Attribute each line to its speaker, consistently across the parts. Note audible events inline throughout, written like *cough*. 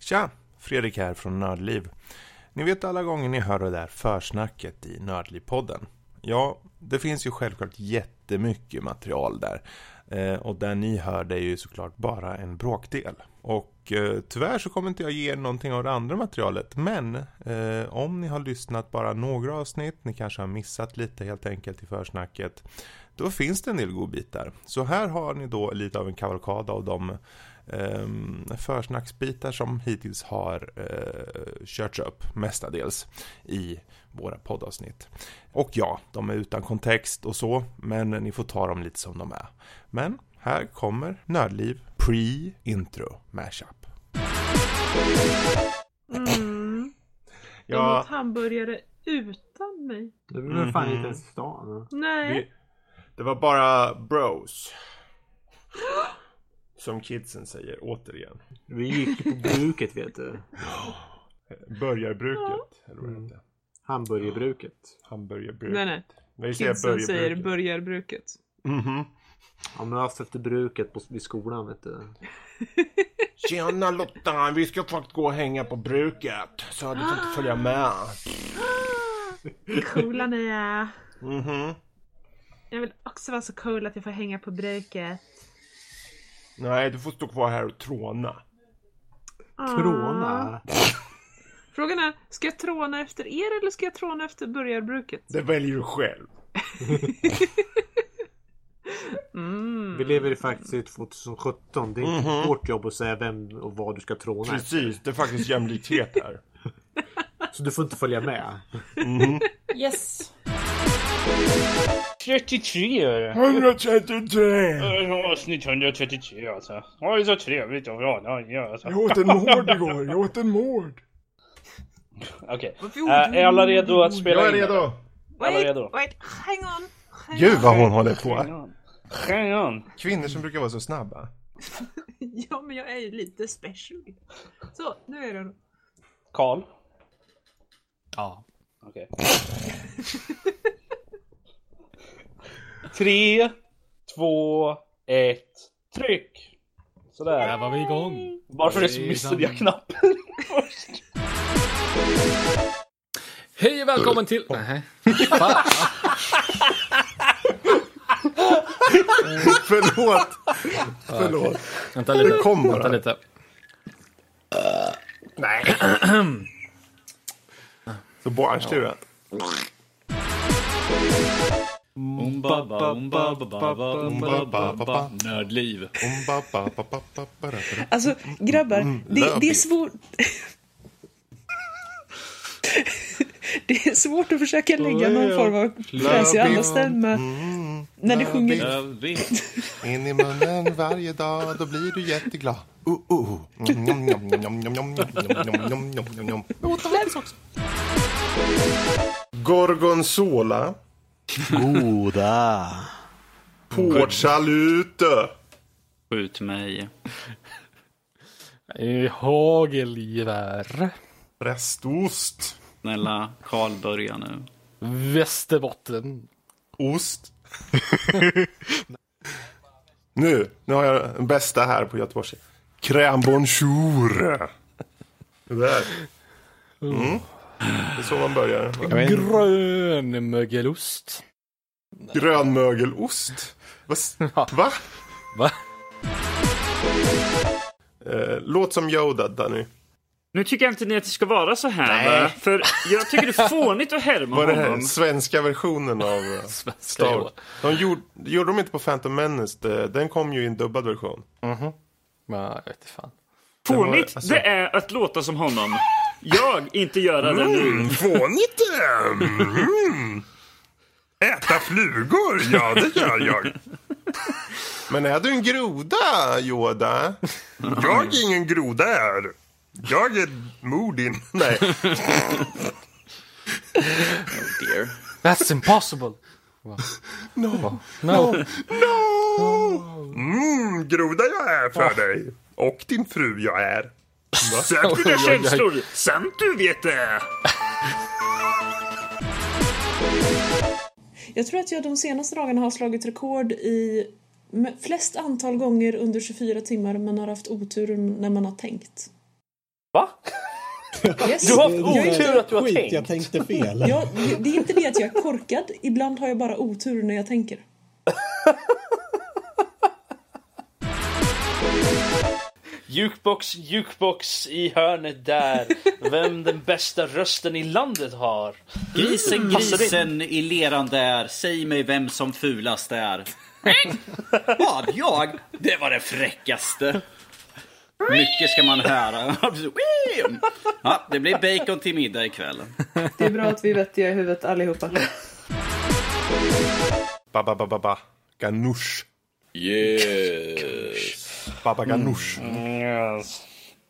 Speaker 1: Tja! Fredrik här från Nördliv. Ni vet alla gånger ni hör det där försnacket i Nördliv-podden. Ja, det finns ju självklart jättemycket material där. Eh, Och där ni hör det är ju såklart bara en bråkdel. Och eh, tyvärr så kommer inte jag ge er någonting av det andra materialet. Men eh, om ni har lyssnat bara några avsnitt, ni kanske har missat lite helt enkelt i försnacket. Då finns det en del godbitar. Så här har ni då lite av en kavalkad av de ehm, försnacksbitar som hittills har eh, körts upp mestadels i våra poddavsnitt. Och ja, de är utan kontext och så, men ni får ta dem lite som de är. Men här kommer Nördliv Pre-Intro Mashup.
Speaker 2: Mm. Jag åt hamburgare utan mig.
Speaker 3: Du vill väl fan
Speaker 1: Mhm.
Speaker 3: inte ens i stan?
Speaker 2: Nej.
Speaker 1: Vi- Det var bara bros. Som kidsen säger återigen.
Speaker 3: Vi gick på bruket vet du.
Speaker 1: Börjarbruket. Eller vad det
Speaker 3: Mm.
Speaker 1: heter.
Speaker 3: Hamburgerbruket.
Speaker 1: Hamburgerbruket.
Speaker 2: Nej, nej.
Speaker 1: Vad säger
Speaker 2: Kidsen säger
Speaker 1: börjarbruket?
Speaker 2: burgarbruket.
Speaker 1: Mhm.
Speaker 3: Ja möts efter bruket på, vid skolan vet du.
Speaker 1: Tjena Lotta, vi ska faktiskt gå och hänga på bruket. Så du får inte följa med.
Speaker 2: Coola ni är.
Speaker 1: Mhm.
Speaker 2: Jag vill också vara så cool att jag får hänga på bruket.
Speaker 1: Nej, du får stå kvar här och tråna.
Speaker 2: Ah.
Speaker 3: Tråna.
Speaker 2: Frågan är, ska jag tråna efter er eller ska jag tråna efter burgarbruket?
Speaker 1: Det väljer du själv.
Speaker 2: Mm.
Speaker 3: Vi lever i faktiskt i 2017. Det är inte
Speaker 1: Mhm.
Speaker 3: vårt jobb att säga vem och vad du ska tråna.
Speaker 1: Precis, det är faktiskt jämlikhet här.
Speaker 3: Så du får inte
Speaker 1: *laughs*
Speaker 3: följa med.
Speaker 4: Yes. 33 är det.
Speaker 1: 133!
Speaker 4: Eh, Avsnitt 133 alltså. Ha det så trevligt och bra. Ja, ja, alltså.
Speaker 1: åt en mård igår, jag åt en mård.
Speaker 4: Okej. Eh, är alla redo att spela
Speaker 1: Jag är
Speaker 4: in?
Speaker 1: redo.
Speaker 4: Alla redo?
Speaker 2: wait, hang on. *laughs* Hang
Speaker 1: Gud
Speaker 2: on.
Speaker 1: vad hon håller på.
Speaker 4: Hang on.
Speaker 1: Kvinnor som brukar vara så snabba.
Speaker 2: Ja, men jag är ju lite special. Så, nu är det
Speaker 4: Karl?
Speaker 5: Ja.
Speaker 4: Okej. *laughs* Tre, två, ett, tryck!
Speaker 5: Där
Speaker 4: Sådär.
Speaker 5: var vi igång.
Speaker 4: Varför det så missade jag knappen?
Speaker 5: Hej och välkommen till... Nej. Fan.
Speaker 1: Förlåt! Förlåt.
Speaker 5: Vänta lite.
Speaker 1: Det kom bara.
Speaker 5: Vänta lite.
Speaker 1: Så barnstuga.
Speaker 5: Nördliv.
Speaker 6: Alltså grabbar, det,
Speaker 1: love
Speaker 6: det är
Speaker 1: it.
Speaker 6: svårt. *laughs* det är svårt att försöka lägga någon form av fräsig
Speaker 1: Love it.
Speaker 6: andastämma när du sjunger.
Speaker 1: In i munnen varje dag, då blir du jätteglad. Uh, uh, uh. Njom, njom, njom, njom, njom, njom, njom, njom, njom, njom, njom. Gorgonzola.
Speaker 7: Goda!
Speaker 1: Portsalute.
Speaker 8: Skjut mig.
Speaker 5: I Hagelgevär.
Speaker 1: Prästost.
Speaker 8: Snälla, Karl börja nu.
Speaker 5: Västerbotten.
Speaker 1: Ost. nu, nu har jag den bästa här på göteborgska. Crème bonjour. Det där. Mm. Det är så man börjar.
Speaker 5: Grönmögelost.
Speaker 1: Grönmögelost. *laughs* Vad? s- Va?
Speaker 5: Va?
Speaker 1: Eh, låt som Yoda, Danny.
Speaker 8: Nu tycker jag inte ni att det ska vara så här. Va? För jag tycker det
Speaker 9: *laughs*
Speaker 8: är fånigt att härma
Speaker 1: Vad är det här?
Speaker 8: honom.
Speaker 1: Svenska versionen av *laughs* eh, Star Wars.
Speaker 5: Yoda.
Speaker 1: De gjorde, gjorde de inte på Phantom Menace. Det- Den kom ju i en dubbad *clears throat* version.
Speaker 5: Nej, jag vet inte fan.
Speaker 1: Det
Speaker 8: Fånigt,
Speaker 1: var- alltså-
Speaker 8: det är att låta som honom. Jag, inte göra det nu.
Speaker 1: Fånigt! eh, Mm. Äta flugor? Ja, det gör jag. *laughs* Men är du en groda, Yoda? Jag är ingen groda här. Jag är Moodin. *laughs* Nej.
Speaker 5: That's impossible.
Speaker 1: No.
Speaker 5: No.
Speaker 1: No! Mm, groda jag är för dig. Och din fru jag är.
Speaker 8: Sök
Speaker 5: Oj,
Speaker 8: dina
Speaker 5: oj, oj.
Speaker 8: känslor, samt du vet det.
Speaker 6: Jag tror att jag de senaste dagarna har slagit rekord i m- flest antal gånger under 24 timmar man har haft otur när man har tänkt.
Speaker 10: Va?
Speaker 6: Yes.
Speaker 10: Du har haft
Speaker 11: Det är
Speaker 10: otur att du har
Speaker 11: skit,
Speaker 10: tänkt.
Speaker 11: Jag tänkte fel.
Speaker 6: Ja, det är inte det att jag är korkad. Ibland har jag bara otur när jag tänker.
Speaker 10: Jukebox, jukebox i hörnet där. Vem den bästa rösten i landet har.
Speaker 9: Grisen,
Speaker 10: Passar det?
Speaker 9: grisen i leran där. Säg mig vem som fulast
Speaker 8: *laughs*
Speaker 9: är. Vad? Jag? Det var det fräckaste. Mycket ska man höra. *laughs* Ja, det blir bacon till middag ikväll.
Speaker 2: Det är bra att vi är vettiga i huvudet allihopa.
Speaker 1: Ba, ba, ba, ba, ba. Ganoush.
Speaker 5: Yes.
Speaker 1: Baba ganoush.
Speaker 4: Yes.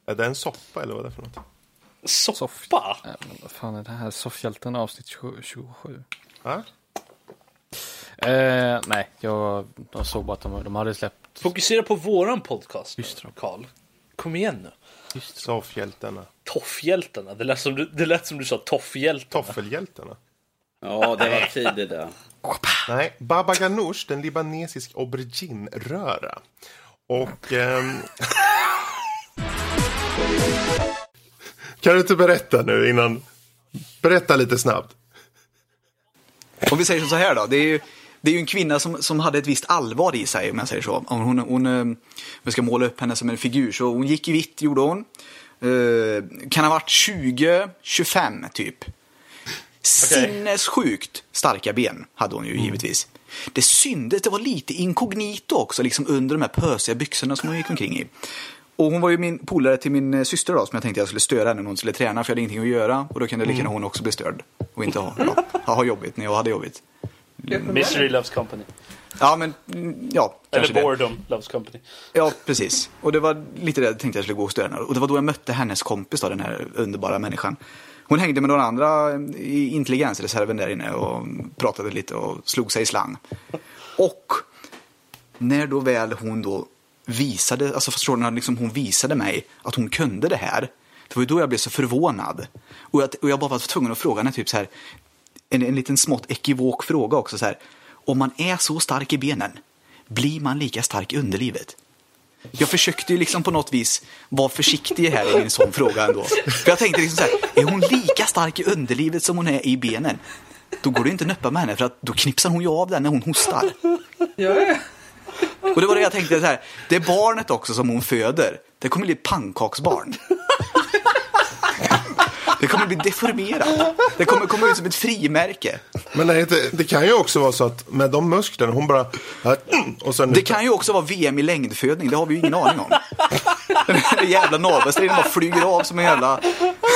Speaker 1: Är det en soppa eller vad är det för något?
Speaker 10: Soppa?
Speaker 5: Äh, men vad fan är det här? Soffhjälten avsnitt 20 27.
Speaker 1: Ja?
Speaker 5: Eh, nej, jag, jag såg bara att de, de hade släppt...
Speaker 10: Fokusera på våran podcast. nu,
Speaker 5: Just det.
Speaker 10: Karl. Kom igen nu.
Speaker 1: Soffhjältarna.
Speaker 10: Toffhjältarna. Det lät som du, det lät som du sa toffhjält.
Speaker 1: Toffelhjältarna.
Speaker 9: Ja, det var tid det där.
Speaker 1: Nej, baba ganoush, den libanesisk aubergine-röra. Och... ehm, *laughs* kan du inte berätta nu innan? Berätta lite snabbt.
Speaker 12: Om vi säger så här då. Det är ju, det är ju en kvinna som, som hade ett visst allvar i sig om jag säger så. Om, hon, hon, eh, om jag ska måla upp henne som en figur. Så hon gick i vitt gjorde hon. Eh, kan ha varit 20-25 typ. Sinnessjukt starka ben hade hon ju givetvis. Det syndes, det var lite inkognito också liksom under de här pösiga byxorna som hon gick omkring i. Och hon var ju min polare till min eh, syster då som jag tänkte jag skulle störa henne när hon skulle träna för jag hade ingenting att göra. Och då kunde lika gärna hon också bli störd. Och inte ha, ja, ha, ha jobbigt när jag hade jobbigt.
Speaker 10: Misery Loves Company.
Speaker 12: Ja men, mm, ja. kanske
Speaker 10: Eller
Speaker 12: det.
Speaker 10: Boredom Loves Company.
Speaker 12: Ja, precis. Och det var lite det jag tänkte jag skulle gå och störa henne. Och det var då jag mötte hennes kompis då, den här underbara människan. Hon hängde med några andra mm, i intelligensreserven där inne och pratade lite och slog sig i slang. Och när då väl hon då visade, alltså förstår du, när liksom hon visade mig att hon kunde det här. Det var ju då jag blev så förvånad. Och jag, och jag bara var tvungen att fråga henne typ så här, en, en liten smått ekivok fråga också så här. Om man är så stark i benen, blir man lika stark i underlivet? Jag försökte ju liksom på något vis vara försiktig här i min sån fråga ändå. För jag tänkte liksom så här, är hon lika stark i underlivet som hon är i benen? Då går det inte att nöppa med henne för att då knipsar hon ju av den när hon hostar. Och det var det jag tänkte så här, det är barnet också som hon föder, det kommer bli ett pannkaksbarn. Det kommer bli deformerat. Det kommer komma ut som ett frimärke.
Speaker 1: Men nej, det, det kan ju också vara så att med de musklerna, hon bara... äh, mm, Och sen
Speaker 12: Det kan ju också vara VM i längdfödning, det har vi ju ingen aning om. Den här jävla navelsträngen bara flyger av som en jävla,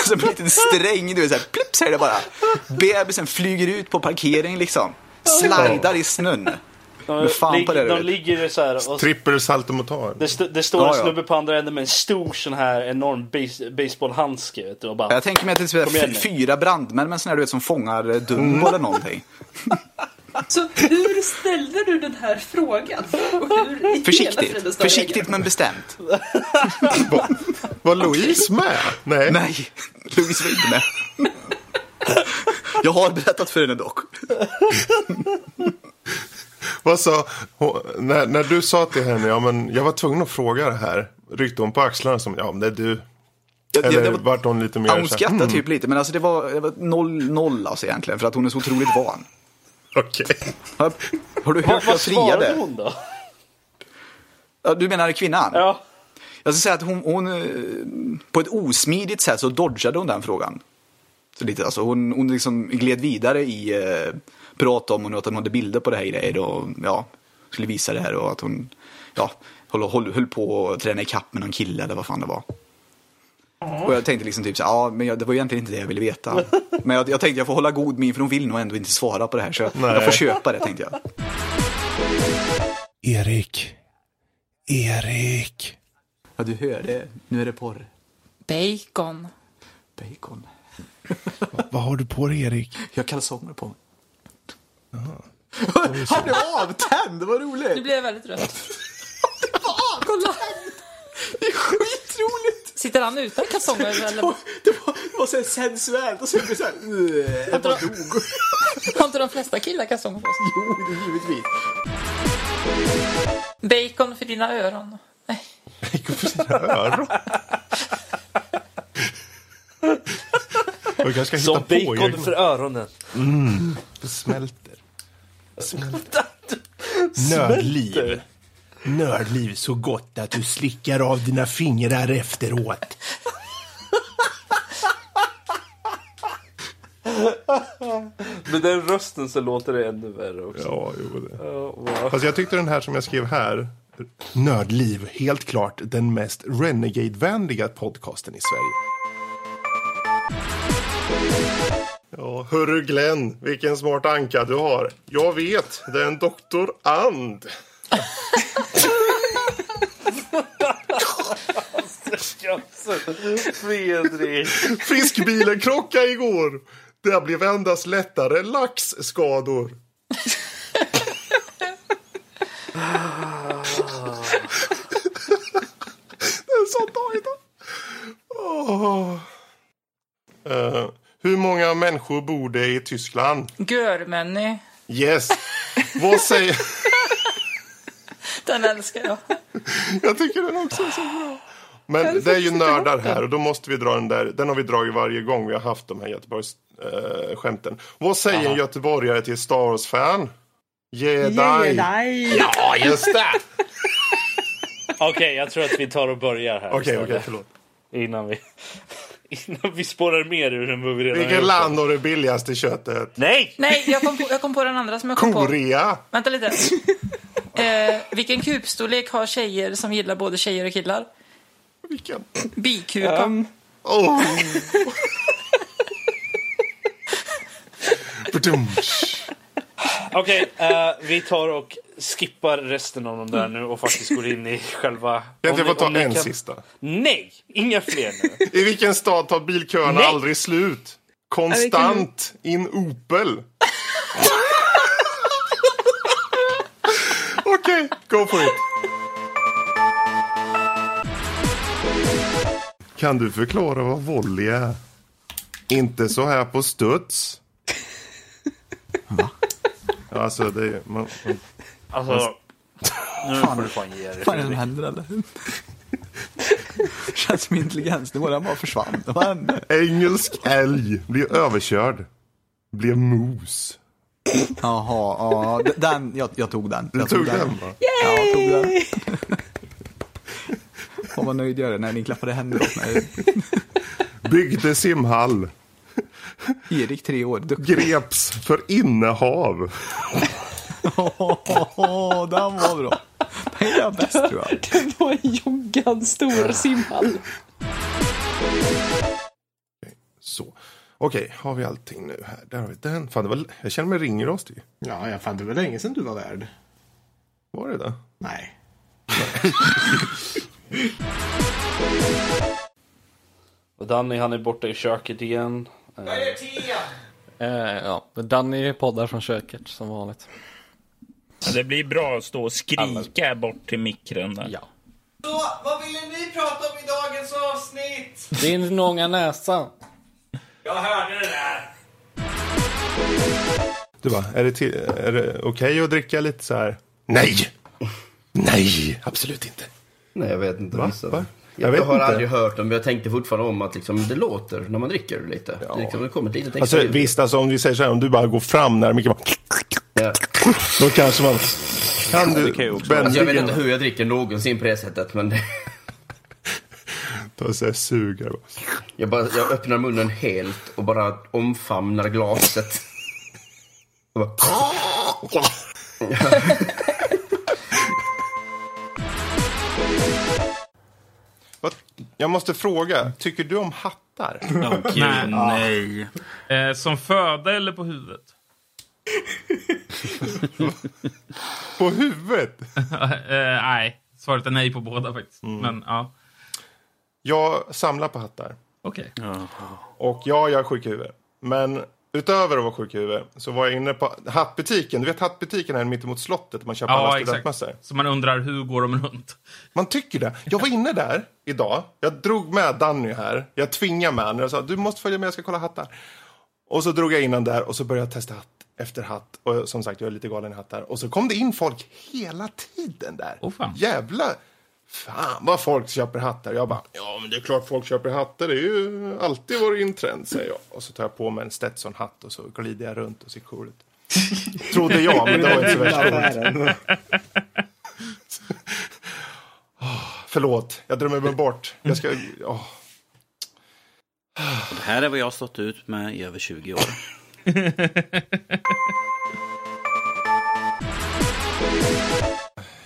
Speaker 12: som en liten sträng, du vet såhär, plipp säger det bara. Bebisen flyger ut på parkeringen liksom. Slajdar i snön. Men fan på det, du
Speaker 10: de
Speaker 12: vet.
Speaker 10: ligger så här och
Speaker 1: Trippel saltomortal.
Speaker 10: det, st- det står en
Speaker 12: Ja, ja.
Speaker 10: snubbe på andra änden med en stor sån här enorm base- baseballhandske vet du, och bara
Speaker 12: Jag tänker mig att det är sådär
Speaker 10: Kom igen
Speaker 12: fy-
Speaker 10: nu.
Speaker 12: fyra brandmän med en sån här du vet som fångar eh, Dumbo eller någonting.
Speaker 6: Så hur ställde du den här frågan? Och hur i hela friden
Speaker 12: Försiktigt,
Speaker 6: står jag
Speaker 12: försiktigt
Speaker 10: *laughs*
Speaker 12: men bestämt.
Speaker 1: Var Louise med? Nej.
Speaker 12: Nej, Louise var inte med. Jag har berättat för henne dock.
Speaker 1: Vad sa, hon, när, när du sa till henne, ja men jag var tvungen att fråga det här. Ryckte hon på axlarna som, ja men det är
Speaker 10: *laughs*
Speaker 1: du.
Speaker 12: Jag- jag-
Speaker 1: Eller
Speaker 12: jag var-
Speaker 1: vart hon lite mer
Speaker 12: Ja, hon
Speaker 1: så här, mm.
Speaker 12: skrattade typ lite, men alltså det var, det var noll, noll alltså egentligen, för att hon är så otroligt van.
Speaker 1: Okej.
Speaker 12: Har, har du
Speaker 10: Vad,
Speaker 12: hört
Speaker 10: vad
Speaker 12: jag
Speaker 10: svarade
Speaker 12: friade?
Speaker 10: hon då?
Speaker 12: Ja, Du menar kvinnan?
Speaker 10: Ja,
Speaker 12: Jag ska säga att hon, hon, eh, på ett osmidigt sätt så dodgade hon den frågan. Så lite, alltså hon, hon liksom gled vidare i eh, prat om hon, att hon hade bilder på det här grejer och ja, skulle visa det här och att hon ja, höll, höll, höll på att träna ikapp med någon kille eller vad fan det var. Och jag tänkte liksom typ så här, ja men jag, det var egentligen inte det jag ville veta. Men jag, jag tänkte jag får hålla god min för hon vill nog ändå inte svara på det här så jag, jag får köpa det tänkte jag.
Speaker 7: Erik. Erik.
Speaker 12: Ja du hör det, nu är det porr.
Speaker 13: Bacon.
Speaker 12: Bacon.
Speaker 7: Vad har du på dig Erik?
Speaker 12: Jag har kalsonger på mig. *laughs* Han blev avtänd, vad roligt!
Speaker 13: Nu blev jag väldigt röd.
Speaker 12: Kolla! Det är skitroligt!
Speaker 13: Sitter han utan kalsonger?
Speaker 6: *laughs*
Speaker 13: Eller?
Speaker 12: Det var, det var så här sensuellt och så blev det såhär... Jag bara dog.
Speaker 13: Har inte de flesta killar kalsonger på sig?
Speaker 12: Jo, det är givetvis.
Speaker 13: Bacon för dina öron. Nej.
Speaker 1: Öron. Och jag kanske ska
Speaker 10: Som
Speaker 1: hitta på
Speaker 10: bacon
Speaker 1: egna.
Speaker 10: för öronen.
Speaker 1: Mm. Det smälter. Smälter. Nördliv. Nördliv så gott att du slickar av dina fingrar efteråt.
Speaker 10: Med den rösten så låter det ännu värre också.
Speaker 1: Ja, jo det.
Speaker 10: wow.
Speaker 1: Fast jag tyckte den här som jag skrev här, Nördliv, helt klart den mest renegade-vänliga podcasten i Sverige. Ja, hörru Glenn, vilken smart anka du har. Jag vet, det är en doktor And.
Speaker 10: Fredrik.
Speaker 1: Fiskbilen krockade igår. Det blev endast lättare laxskador. Det är så dåligt. Åh. Eh, hur många människor bor det i Tyskland?
Speaker 13: Görmänny.
Speaker 1: Yes. Vad säger...
Speaker 13: Den älskar jag.
Speaker 1: Jag tycker den också är så bra. Men det är ju nördar här och då måste vi dra den där. Den har vi dragit varje gång vi har haft de här Göteborgs eh, skämten. Vad säger en göteborgare till Star Wars-fan? Jedi.
Speaker 10: Jedi.
Speaker 1: Ja, just
Speaker 10: *laughs*
Speaker 1: det!
Speaker 10: Okej, jag tror att vi tar och börjar här.
Speaker 1: Okej,
Speaker 10: istället.
Speaker 1: okej, förlåt.
Speaker 10: Innan vi, *laughs* innan vi spårar mer ur den vi redan
Speaker 1: Vilket
Speaker 10: gjort.
Speaker 1: land har det billigaste köttet?
Speaker 10: Nej!
Speaker 13: Nej, jag kom, på, jag kom på den andra som jag kom på.
Speaker 1: Korea!
Speaker 13: Vänta
Speaker 1: *laughs*
Speaker 13: lite. Eh, vilken kupstorlek har tjejer som gillar både tjejer och killar?
Speaker 1: Vilken?
Speaker 13: Bikupa.
Speaker 1: Um. Oh.
Speaker 10: Okej, eh, vi tar och skippar resten av dem där nu och faktiskt går in i själva...
Speaker 1: Kan inte
Speaker 10: om
Speaker 1: jag
Speaker 10: ni-
Speaker 1: få ta
Speaker 10: om ni
Speaker 1: en sista?
Speaker 10: Nej, inga fler nu.
Speaker 1: I vilken stad tar bilköerna
Speaker 10: Nej.
Speaker 1: aldrig slut? Konstant in Opel. Okej, go for it. Kan du förklara vad volley är? Inte så här på studs. Va? Alltså, det är... Man, man,
Speaker 10: Alltså, nu får du fan ge dig.
Speaker 12: Vad är det som
Speaker 10: Fredrik.
Speaker 12: händer eller? *laughs* Känns som intelligensnivån, den bara försvann. Vad hände?
Speaker 1: Engelsk älg blir överkörd. Blir mos.
Speaker 12: Jaha, ja, d- den, jag, jag tog den.
Speaker 1: Du
Speaker 12: jag
Speaker 1: tog den, va?
Speaker 12: Ja, jag tog den. Fan vad nöjd jag är när ni klappade händer åt mig.
Speaker 1: Byggde simhall.
Speaker 12: Erik tre år, duktig.
Speaker 1: Greps för innehav.
Speaker 12: Åh, den var bra. Den är jag bäst tror jag.
Speaker 6: Det var en joggad stor simhall.
Speaker 1: Så. Okej, har vi allting nu här? Där har vi den. Fan, det var, jag känner mig ringrostig.
Speaker 3: Ja, jag fan, det var länge sedan du var värd.
Speaker 1: Var det det?
Speaker 3: Nej.
Speaker 10: Och Danny han är borta i köket igen. Eh,
Speaker 5: Eh, ja, Danny poddar från köket som vanligt.
Speaker 11: Ja, det blir bra att stå och skrika bort till mikron där. Ja.
Speaker 14: Så, vad ville ni prata om i dagens avsnitt?
Speaker 5: Din långa näsa.
Speaker 14: Jag hörde det där.
Speaker 1: Du bara, är det, till- är det okej att dricka lite så här? Nej! Nej, absolut inte.
Speaker 15: Nej, jag vet inte.
Speaker 1: Va?
Speaker 15: Vissa.
Speaker 1: Va?
Speaker 15: Jag,
Speaker 1: Jag vet
Speaker 15: har
Speaker 1: inte.
Speaker 15: aldrig hört dem, men jag tänkte fortfarande om att liksom, det låter när man dricker lite. Liksom, det kommer ett litet
Speaker 1: Alltså
Speaker 15: extra ljud.
Speaker 1: visst, alltså, om vi säger så här, om du bara går fram när mycket bara... Då kanske man... Kan du
Speaker 15: Alltså, Jag vet
Speaker 1: bändigen
Speaker 15: inte hur jag dricker någonsin på det *laughs* sättet, men...
Speaker 1: ta så här sugar?
Speaker 15: Jag, bara, jag öppnar munnen helt och bara omfamnar glaset. *laughs* Och bara...
Speaker 1: Vad- Jag måste fråga, tycker du om hattar?
Speaker 11: Nej. nej. Eh, som föda eller på huvudet?
Speaker 1: på huvudet?
Speaker 11: eh, nej, svaret är nej på båda faktiskt. Men ja.
Speaker 1: Jag samlar på hattar.
Speaker 11: Okej.
Speaker 1: Och ja, jag är sjuk i huvudet. Men utöver att vara sjuk i huvudet så var jag inne på hattbutiken. Du vet hattbutiken här mittemot slottet där man köper alla
Speaker 11: Ja, exakt.
Speaker 1: studentmössor.
Speaker 11: Så man undrar hur går de runt?
Speaker 1: Man tycker det. Jag var inne där idag. Jag drog med Danny här. Jag tvingade med honom. Jag sa du måste följa med, jag ska kolla hattar. Och så drog jag in honom där och så började jag testa hatt efter hatt. Och som sagt, jag är lite galen i hattar. Och så kom det in folk hela tiden där. Oh, Jävla Fan vad folk köper hattar. Jag bara, ja men det är klart folk köper hattar. Det är ju alltid varit en trend, säger jag. Och så tar jag på mig en Stetson-hatt och så glider jag runt och ser cool ut. Trodde jag, men det var inte så värst coolt. Ah, Förlåt, jag drömmer mig bort. Jag ska... ah.
Speaker 16: Det här är vad jag har stått ut med i över 20 år.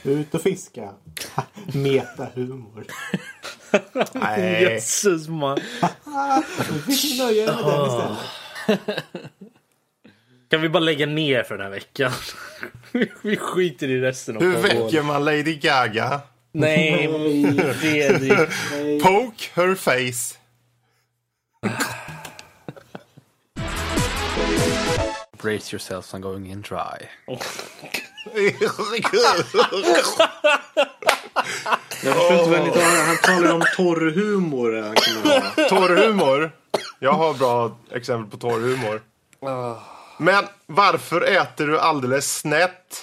Speaker 3: Ut och fiska. *laughs* Metahumor.
Speaker 1: Nej.
Speaker 3: Jösses man. Nu fick ni nöja er med den istället.
Speaker 10: Kan vi bara lägga ner för den här veckan? *laughs* vi skiter i resten av
Speaker 1: Hur
Speaker 10: pågående.
Speaker 1: väcker man Lady Gaga?
Speaker 10: Nej, Fredrik. Nej.
Speaker 1: Poke her face.
Speaker 5: Brace yourselves, I'm going in
Speaker 1: *laughs*
Speaker 5: dry.
Speaker 3: Jag förstår inte vad ni talar om. Han talar om torrhumor. Han kan ha.
Speaker 1: Torrhumor. Jag har bra exempel på torrhumor. Men varför äter du alldeles snett?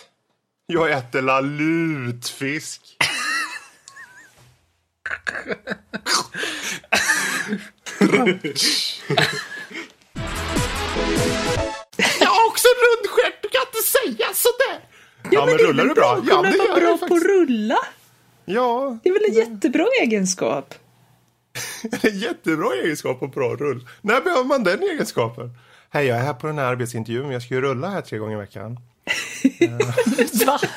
Speaker 1: Jag äter la lutfisk.
Speaker 17: Jag har också rundskärt, du kan inte säga sådär!
Speaker 1: Ja, men rullar du bra? Ja, men det gör jag
Speaker 17: på att
Speaker 2: rulla.
Speaker 1: Ja.
Speaker 2: Det är väl en
Speaker 18: Mm.
Speaker 2: jättebra egenskap?
Speaker 1: Jättebra egenskap och bra rull. När behöver man den egenskapen? Hej, jag är här på den här arbetsintervjun. Jag ska ju rulla här tre gånger i
Speaker 4: *laughs*
Speaker 1: veckan.
Speaker 18: Va?
Speaker 1: *laughs*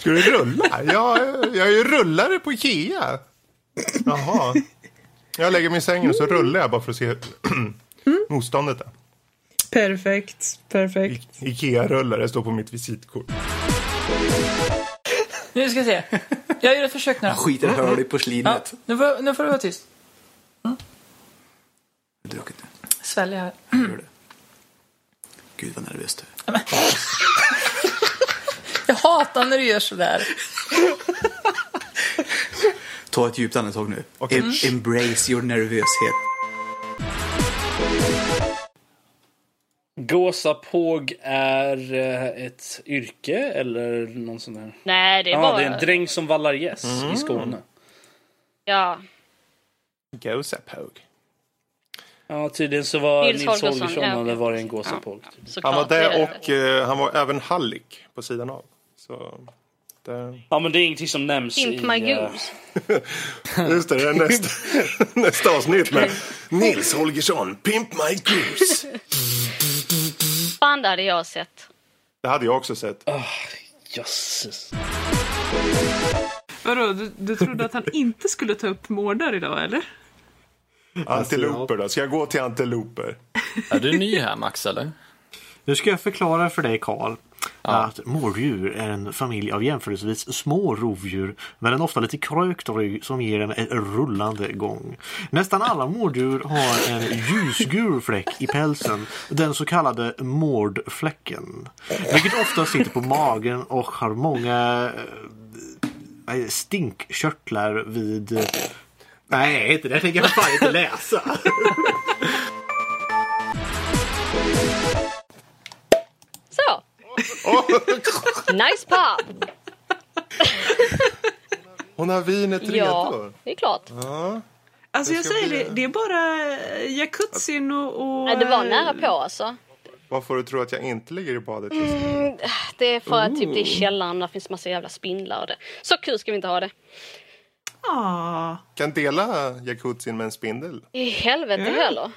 Speaker 1: Ska du rulla? Ja, jag är ju rullare på Ikea. Jaha. Jag lägger mig i sängen och så rullar jag bara för att se *clears throat* motståndet. där.
Speaker 2: Perfekt, perfekt.
Speaker 1: Ikea-rullare står på mitt visitkort.
Speaker 18: Nu ska vi se. Jag gör ett försök nu. Han
Speaker 12: skiter höl i porslinet.
Speaker 18: Nu får, nu får du vara tyst.
Speaker 12: Jag druckit det.
Speaker 18: Svälj här.
Speaker 12: Gud vad nervös du är.
Speaker 18: Jag hatar när du gör sådär.
Speaker 12: Ta ett djupt andetag nu. Em- Embrace your nervöshet.
Speaker 10: Gåsapåg är eh, ett yrke eller någon sån där?
Speaker 4: Nej, det är
Speaker 10: ja,
Speaker 4: bara...
Speaker 10: det är en dräng som vallar gäss
Speaker 19: Mm.
Speaker 10: i Skåne.
Speaker 4: Ja.
Speaker 1: Gåsapåg.
Speaker 10: Ja, tydligen så var
Speaker 4: Nils
Speaker 10: Nils,
Speaker 4: Holgersson,
Speaker 10: Holgersson
Speaker 4: ja,
Speaker 10: hade
Speaker 4: okej.
Speaker 10: varit en gåsapåg.
Speaker 4: Ja, såklart.
Speaker 1: Han var där
Speaker 4: det-
Speaker 1: och eh, han var även hallick på sidan av. Så, det...
Speaker 10: Ja, men det är ingenting som nämns eh,
Speaker 4: Pimp my goose.
Speaker 1: Just det, det är nästa, *laughs* nästa
Speaker 20: *laughs*
Speaker 1: avsnitt med Nils Holgersson, Pimp My Goose.
Speaker 4: Fan, det hade jag sett.
Speaker 1: Det hade jag också sett.
Speaker 10: Jösses.
Speaker 2: Vadå, du, du trodde att han inte skulle ta upp mårdar idag eller?
Speaker 1: Antiloper då. Ska jag gå
Speaker 20: *laughs*
Speaker 1: till antiloper?
Speaker 5: Är du ny här Max eller?
Speaker 3: Nu ska jag förklara för dig Karl. Att mårdjur är en familj av jämförelsevis små rovdjur med en ofta lite krökt rygg som ger dem en rullande gång. Nästan alla mårddjur har en ljusgul fläck i pälsen, den så kallade mårdfläcken. Vilket ofta sitter på magen och har många eh, stinkkörtlar vid... eh, Nej, inte det tänker jag för fan inte läsa!
Speaker 4: Så! nice pop!
Speaker 1: *laughs* Hon har vinet redo.
Speaker 4: Ja, det är klart.
Speaker 1: Ja.
Speaker 2: Alltså
Speaker 1: Det
Speaker 2: jag
Speaker 1: ska
Speaker 2: säger
Speaker 1: bli-
Speaker 2: det, det är bara eh, jacuzzin och... och
Speaker 4: Nej, det var
Speaker 2: eh,
Speaker 4: nära på alltså.
Speaker 1: Vad får du tro att jag inte ligger i badet just nu?
Speaker 4: Mm, det är för att typ det är
Speaker 1: Ooh.
Speaker 4: källaren, där finns massa jävla spindlar och det. Så kul ska vi inte ha det.
Speaker 1: Kan dela jacuzzin med en spindel?
Speaker 4: I helvete
Speaker 1: Mm.
Speaker 4: heller.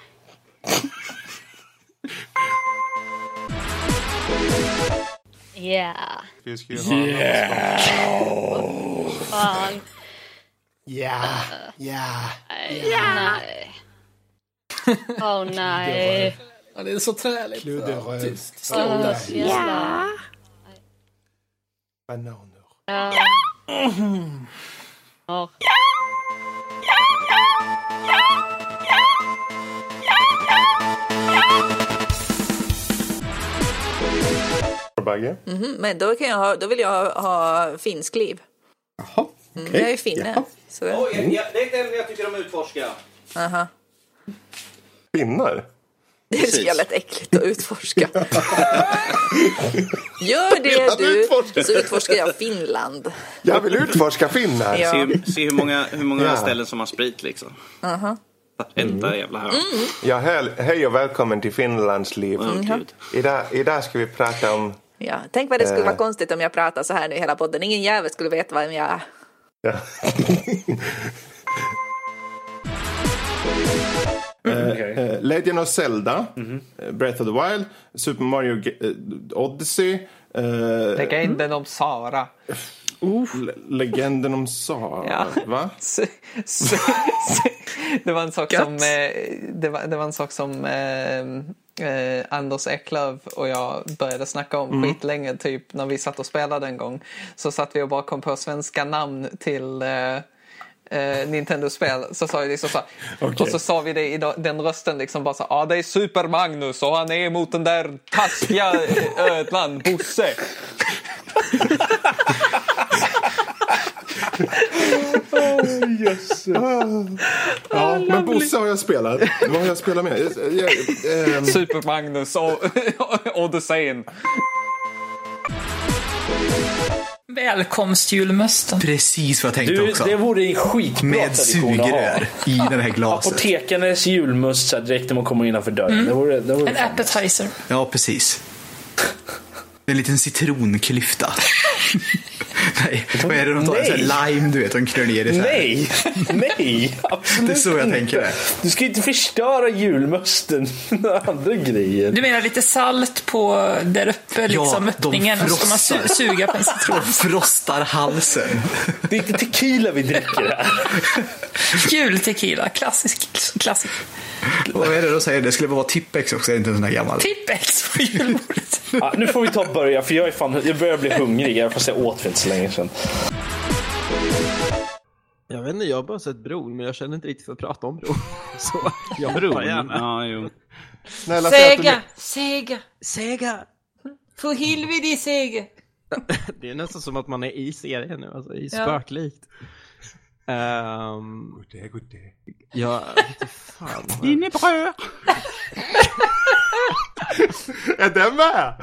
Speaker 4: Yeah.
Speaker 1: Vi ska ju ha yeah.
Speaker 4: Fan.
Speaker 1: Ja, ja,
Speaker 4: ja. Nej. Åh nej.
Speaker 5: Ja, det är så träligt.
Speaker 1: Kludderöv.
Speaker 4: Åh, jävlar.
Speaker 1: Bananer.
Speaker 4: Ja. Ja.
Speaker 1: Bagge?
Speaker 21: Mhm, men då, kan jag ha, då vill jag ha, ha finskliv. Jaha, mm,
Speaker 1: okej.
Speaker 21: Jag är finne.
Speaker 1: Jaha.
Speaker 21: Så,
Speaker 16: det är ett ämne jag tycker om att utforska.
Speaker 21: aha.
Speaker 1: Pinnar?
Speaker 20: Det är så jävla äckligt att utforska. Gör det du, så utforskar jag Finland.
Speaker 1: Jag vill utforska finnar.
Speaker 20: Ja.
Speaker 19: Se, hur- se hur många, hur många
Speaker 1: Ja.
Speaker 19: ställen som har sprit liksom.
Speaker 20: Aha.
Speaker 19: Varenda jävla hörn.
Speaker 4: Mm,
Speaker 1: Ja, hej, hej och välkommen till Finlands liv.
Speaker 20: Åh, Gud.
Speaker 1: Idag, idag ska vi prata om...
Speaker 20: Ja, tänk vad det skulle
Speaker 1: Eh.
Speaker 20: vara konstigt om jag pratar så här nu i hela podden. Ingen jävel skulle veta vem jag är.
Speaker 1: Ja. Eh, eh, Legend of Zelda, eh, Breath of the Wild, Super Mario Ge- eh, Odyssey. eh,
Speaker 5: Legenden om Sara.
Speaker 1: Le- legenden om Sara,
Speaker 5: Ja.
Speaker 1: va?
Speaker 5: Det var en sak som, eh, det var, det var en sak som eh, eh, Anders Eklöf och jag började snacka om
Speaker 22: Mm.
Speaker 5: skitlänge. Typ när vi satt och spelade en gång så satt vi och bara kom på svenska namn till eh, eh, Nintendo-spel. Så sa vi liksom så här,
Speaker 22: Okej.
Speaker 5: Och så sa vi det i da- den rösten liksom bara så ja ah, det är Super-Magnus och han är mot den där taskiga eh, ödlan Bosse.
Speaker 1: Ja, men Bosse har jag spelat. Vad har jag spelat med? Eh,
Speaker 5: Super-Magnus och Odysseen.
Speaker 2: Välkomstjulmösten.
Speaker 12: Precis vad jag tänkte
Speaker 10: Du,
Speaker 12: också.
Speaker 10: det vore en skitbra
Speaker 12: Med
Speaker 10: tradition att ha.
Speaker 12: sugrör i den här glaset.
Speaker 10: Apotekarnas julmust så här direkt när man kommer innanför dörren.
Speaker 2: Mm.
Speaker 10: Det vore, det vore
Speaker 2: En appetizer.
Speaker 12: Ja, precis. En liten citronklyfta. Nej, vad är det de tar? En sån här lime, du vet, de knör ner i så här.
Speaker 10: Nej, nej, absolut
Speaker 12: Det är så jag
Speaker 10: inte.
Speaker 12: tänker det.
Speaker 10: Du ska inte förstöra julmusten *laughs* med andra grejer.
Speaker 2: Du menar lite salt på där uppe, liksom
Speaker 12: de
Speaker 2: öppningen. Och så ska man su-
Speaker 12: frostar.
Speaker 2: suga på en citron.
Speaker 12: De frostar halsen.
Speaker 10: Det är inte tequila vi dricker här.
Speaker 2: Kul tequila, klassisk. klassisk.
Speaker 12: Vad är det de säger? Det skulle vara tippex också, är det inte en sån här gammal?
Speaker 2: Tippex Typ på julbordet.
Speaker 10: Ja, nu får vi ta och börja för jag, är fan, jag börjar bli hungrig även fast jag åt för inte så länge sedan.
Speaker 3: Jag vet inte, jag har bara sett bron, men jag känner inte riktigt för att prata om bron. *laughs* Så jag hoppar gärna.
Speaker 19: Ja, jo.
Speaker 3: Snälla,
Speaker 23: Sega, Sega, Sega. För helvete Sega.
Speaker 3: Det är nästan som att man är i serien nu, alltså i
Speaker 23: Ja.
Speaker 3: spöklikt. Um, god
Speaker 1: dag, god dag.
Speaker 3: Ja, vete fan. vad-
Speaker 23: bröd.
Speaker 1: Är den med?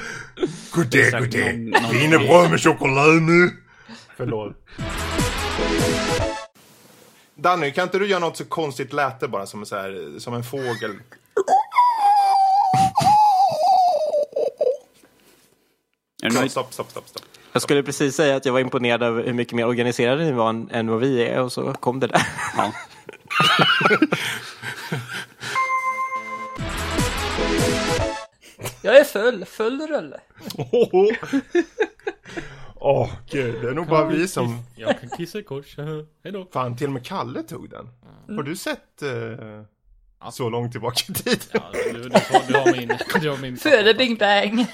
Speaker 1: Goddag,
Speaker 3: Exakt,
Speaker 1: goddag.
Speaker 3: någon- någon-
Speaker 1: Wienerbröd med choklad nu. Förlåt. Danny, kan inte du göra något så konstigt läte bara som, så här, som en fågel? Stopp, stopp, stopp, stopp. stopp.
Speaker 3: Jag skulle precis säga att jag var imponerad över hur mycket mer organiserade ni var än- än vad vi är och så kom det där. Ja.
Speaker 2: Jag är full, full rulle.
Speaker 1: *laughs* Åh, gud. Det är nog bara vi som...
Speaker 24: Jag kan kissa i kors. Hejdå.
Speaker 1: Fan, till och med Kalle tog den. Har du sett eh, Så långt tillbaka i tiden? *laughs*
Speaker 24: Du, du, har, du har min... Du har min...
Speaker 2: Före Big Bang.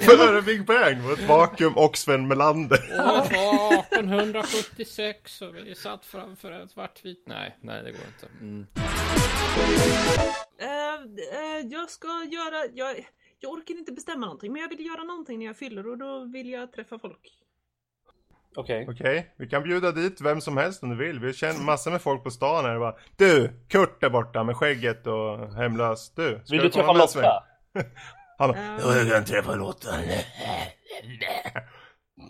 Speaker 1: Före Big Bang var ett vakuum och Sven Melander.
Speaker 24: År var 1876 och vi satt framför en svartvit... Nej, nej det går inte. Mm.
Speaker 25: Eh, eh, jag ska göra... Jag, jag orkar inte bestämma någonting, men jag vill göra någonting när jag fyller och då vill jag träffa folk.
Speaker 10: Okej.
Speaker 1: Okej, vi kan bjuda dit vem som helst om du vill. Vi känner massor med folk på stan här och bara Du, Kurt där borta med skägget och hemlös. Du, ska
Speaker 26: Vill du
Speaker 1: komma
Speaker 26: träffa
Speaker 1: med en sväng?"
Speaker 26: Lotta?
Speaker 1: *laughs* Han bara, "Ja, jag kan träffa Lotta. *laughs*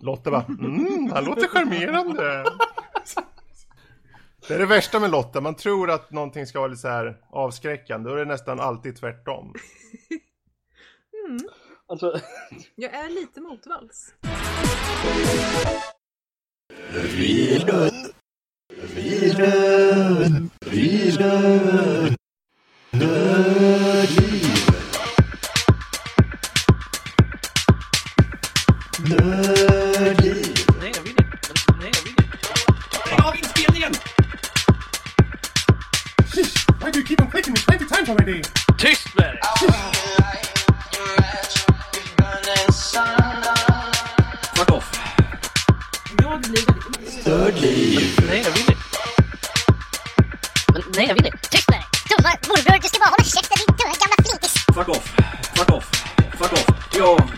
Speaker 1: Lotta bara, mm, han låter charmerande. Det är det värsta med Lotta, man tror att någonting ska vara lite så här avskräckande. Då är det nästan alltid tvärtom.
Speaker 25: Mm.
Speaker 10: Alltså...
Speaker 25: Jag är lite motvalls.
Speaker 26: Vilen. Vilen. Vilen. Nördliv. Nördliv.
Speaker 2: Lägg av inspelningen!
Speaker 26: Why do you keep on clicking me plenty times already? Tyst med dig! Fuck off.
Speaker 25: Jag blir väldigt...
Speaker 26: Stördliv.
Speaker 25: Nej, jag vill inte. Nej, jag vill inte. Tyst med dig!
Speaker 27: Dumma morbror, du ska bara hålla käften din döda gamla flitis!
Speaker 19: Fuck off. Fuck off. Fuck off. Ja,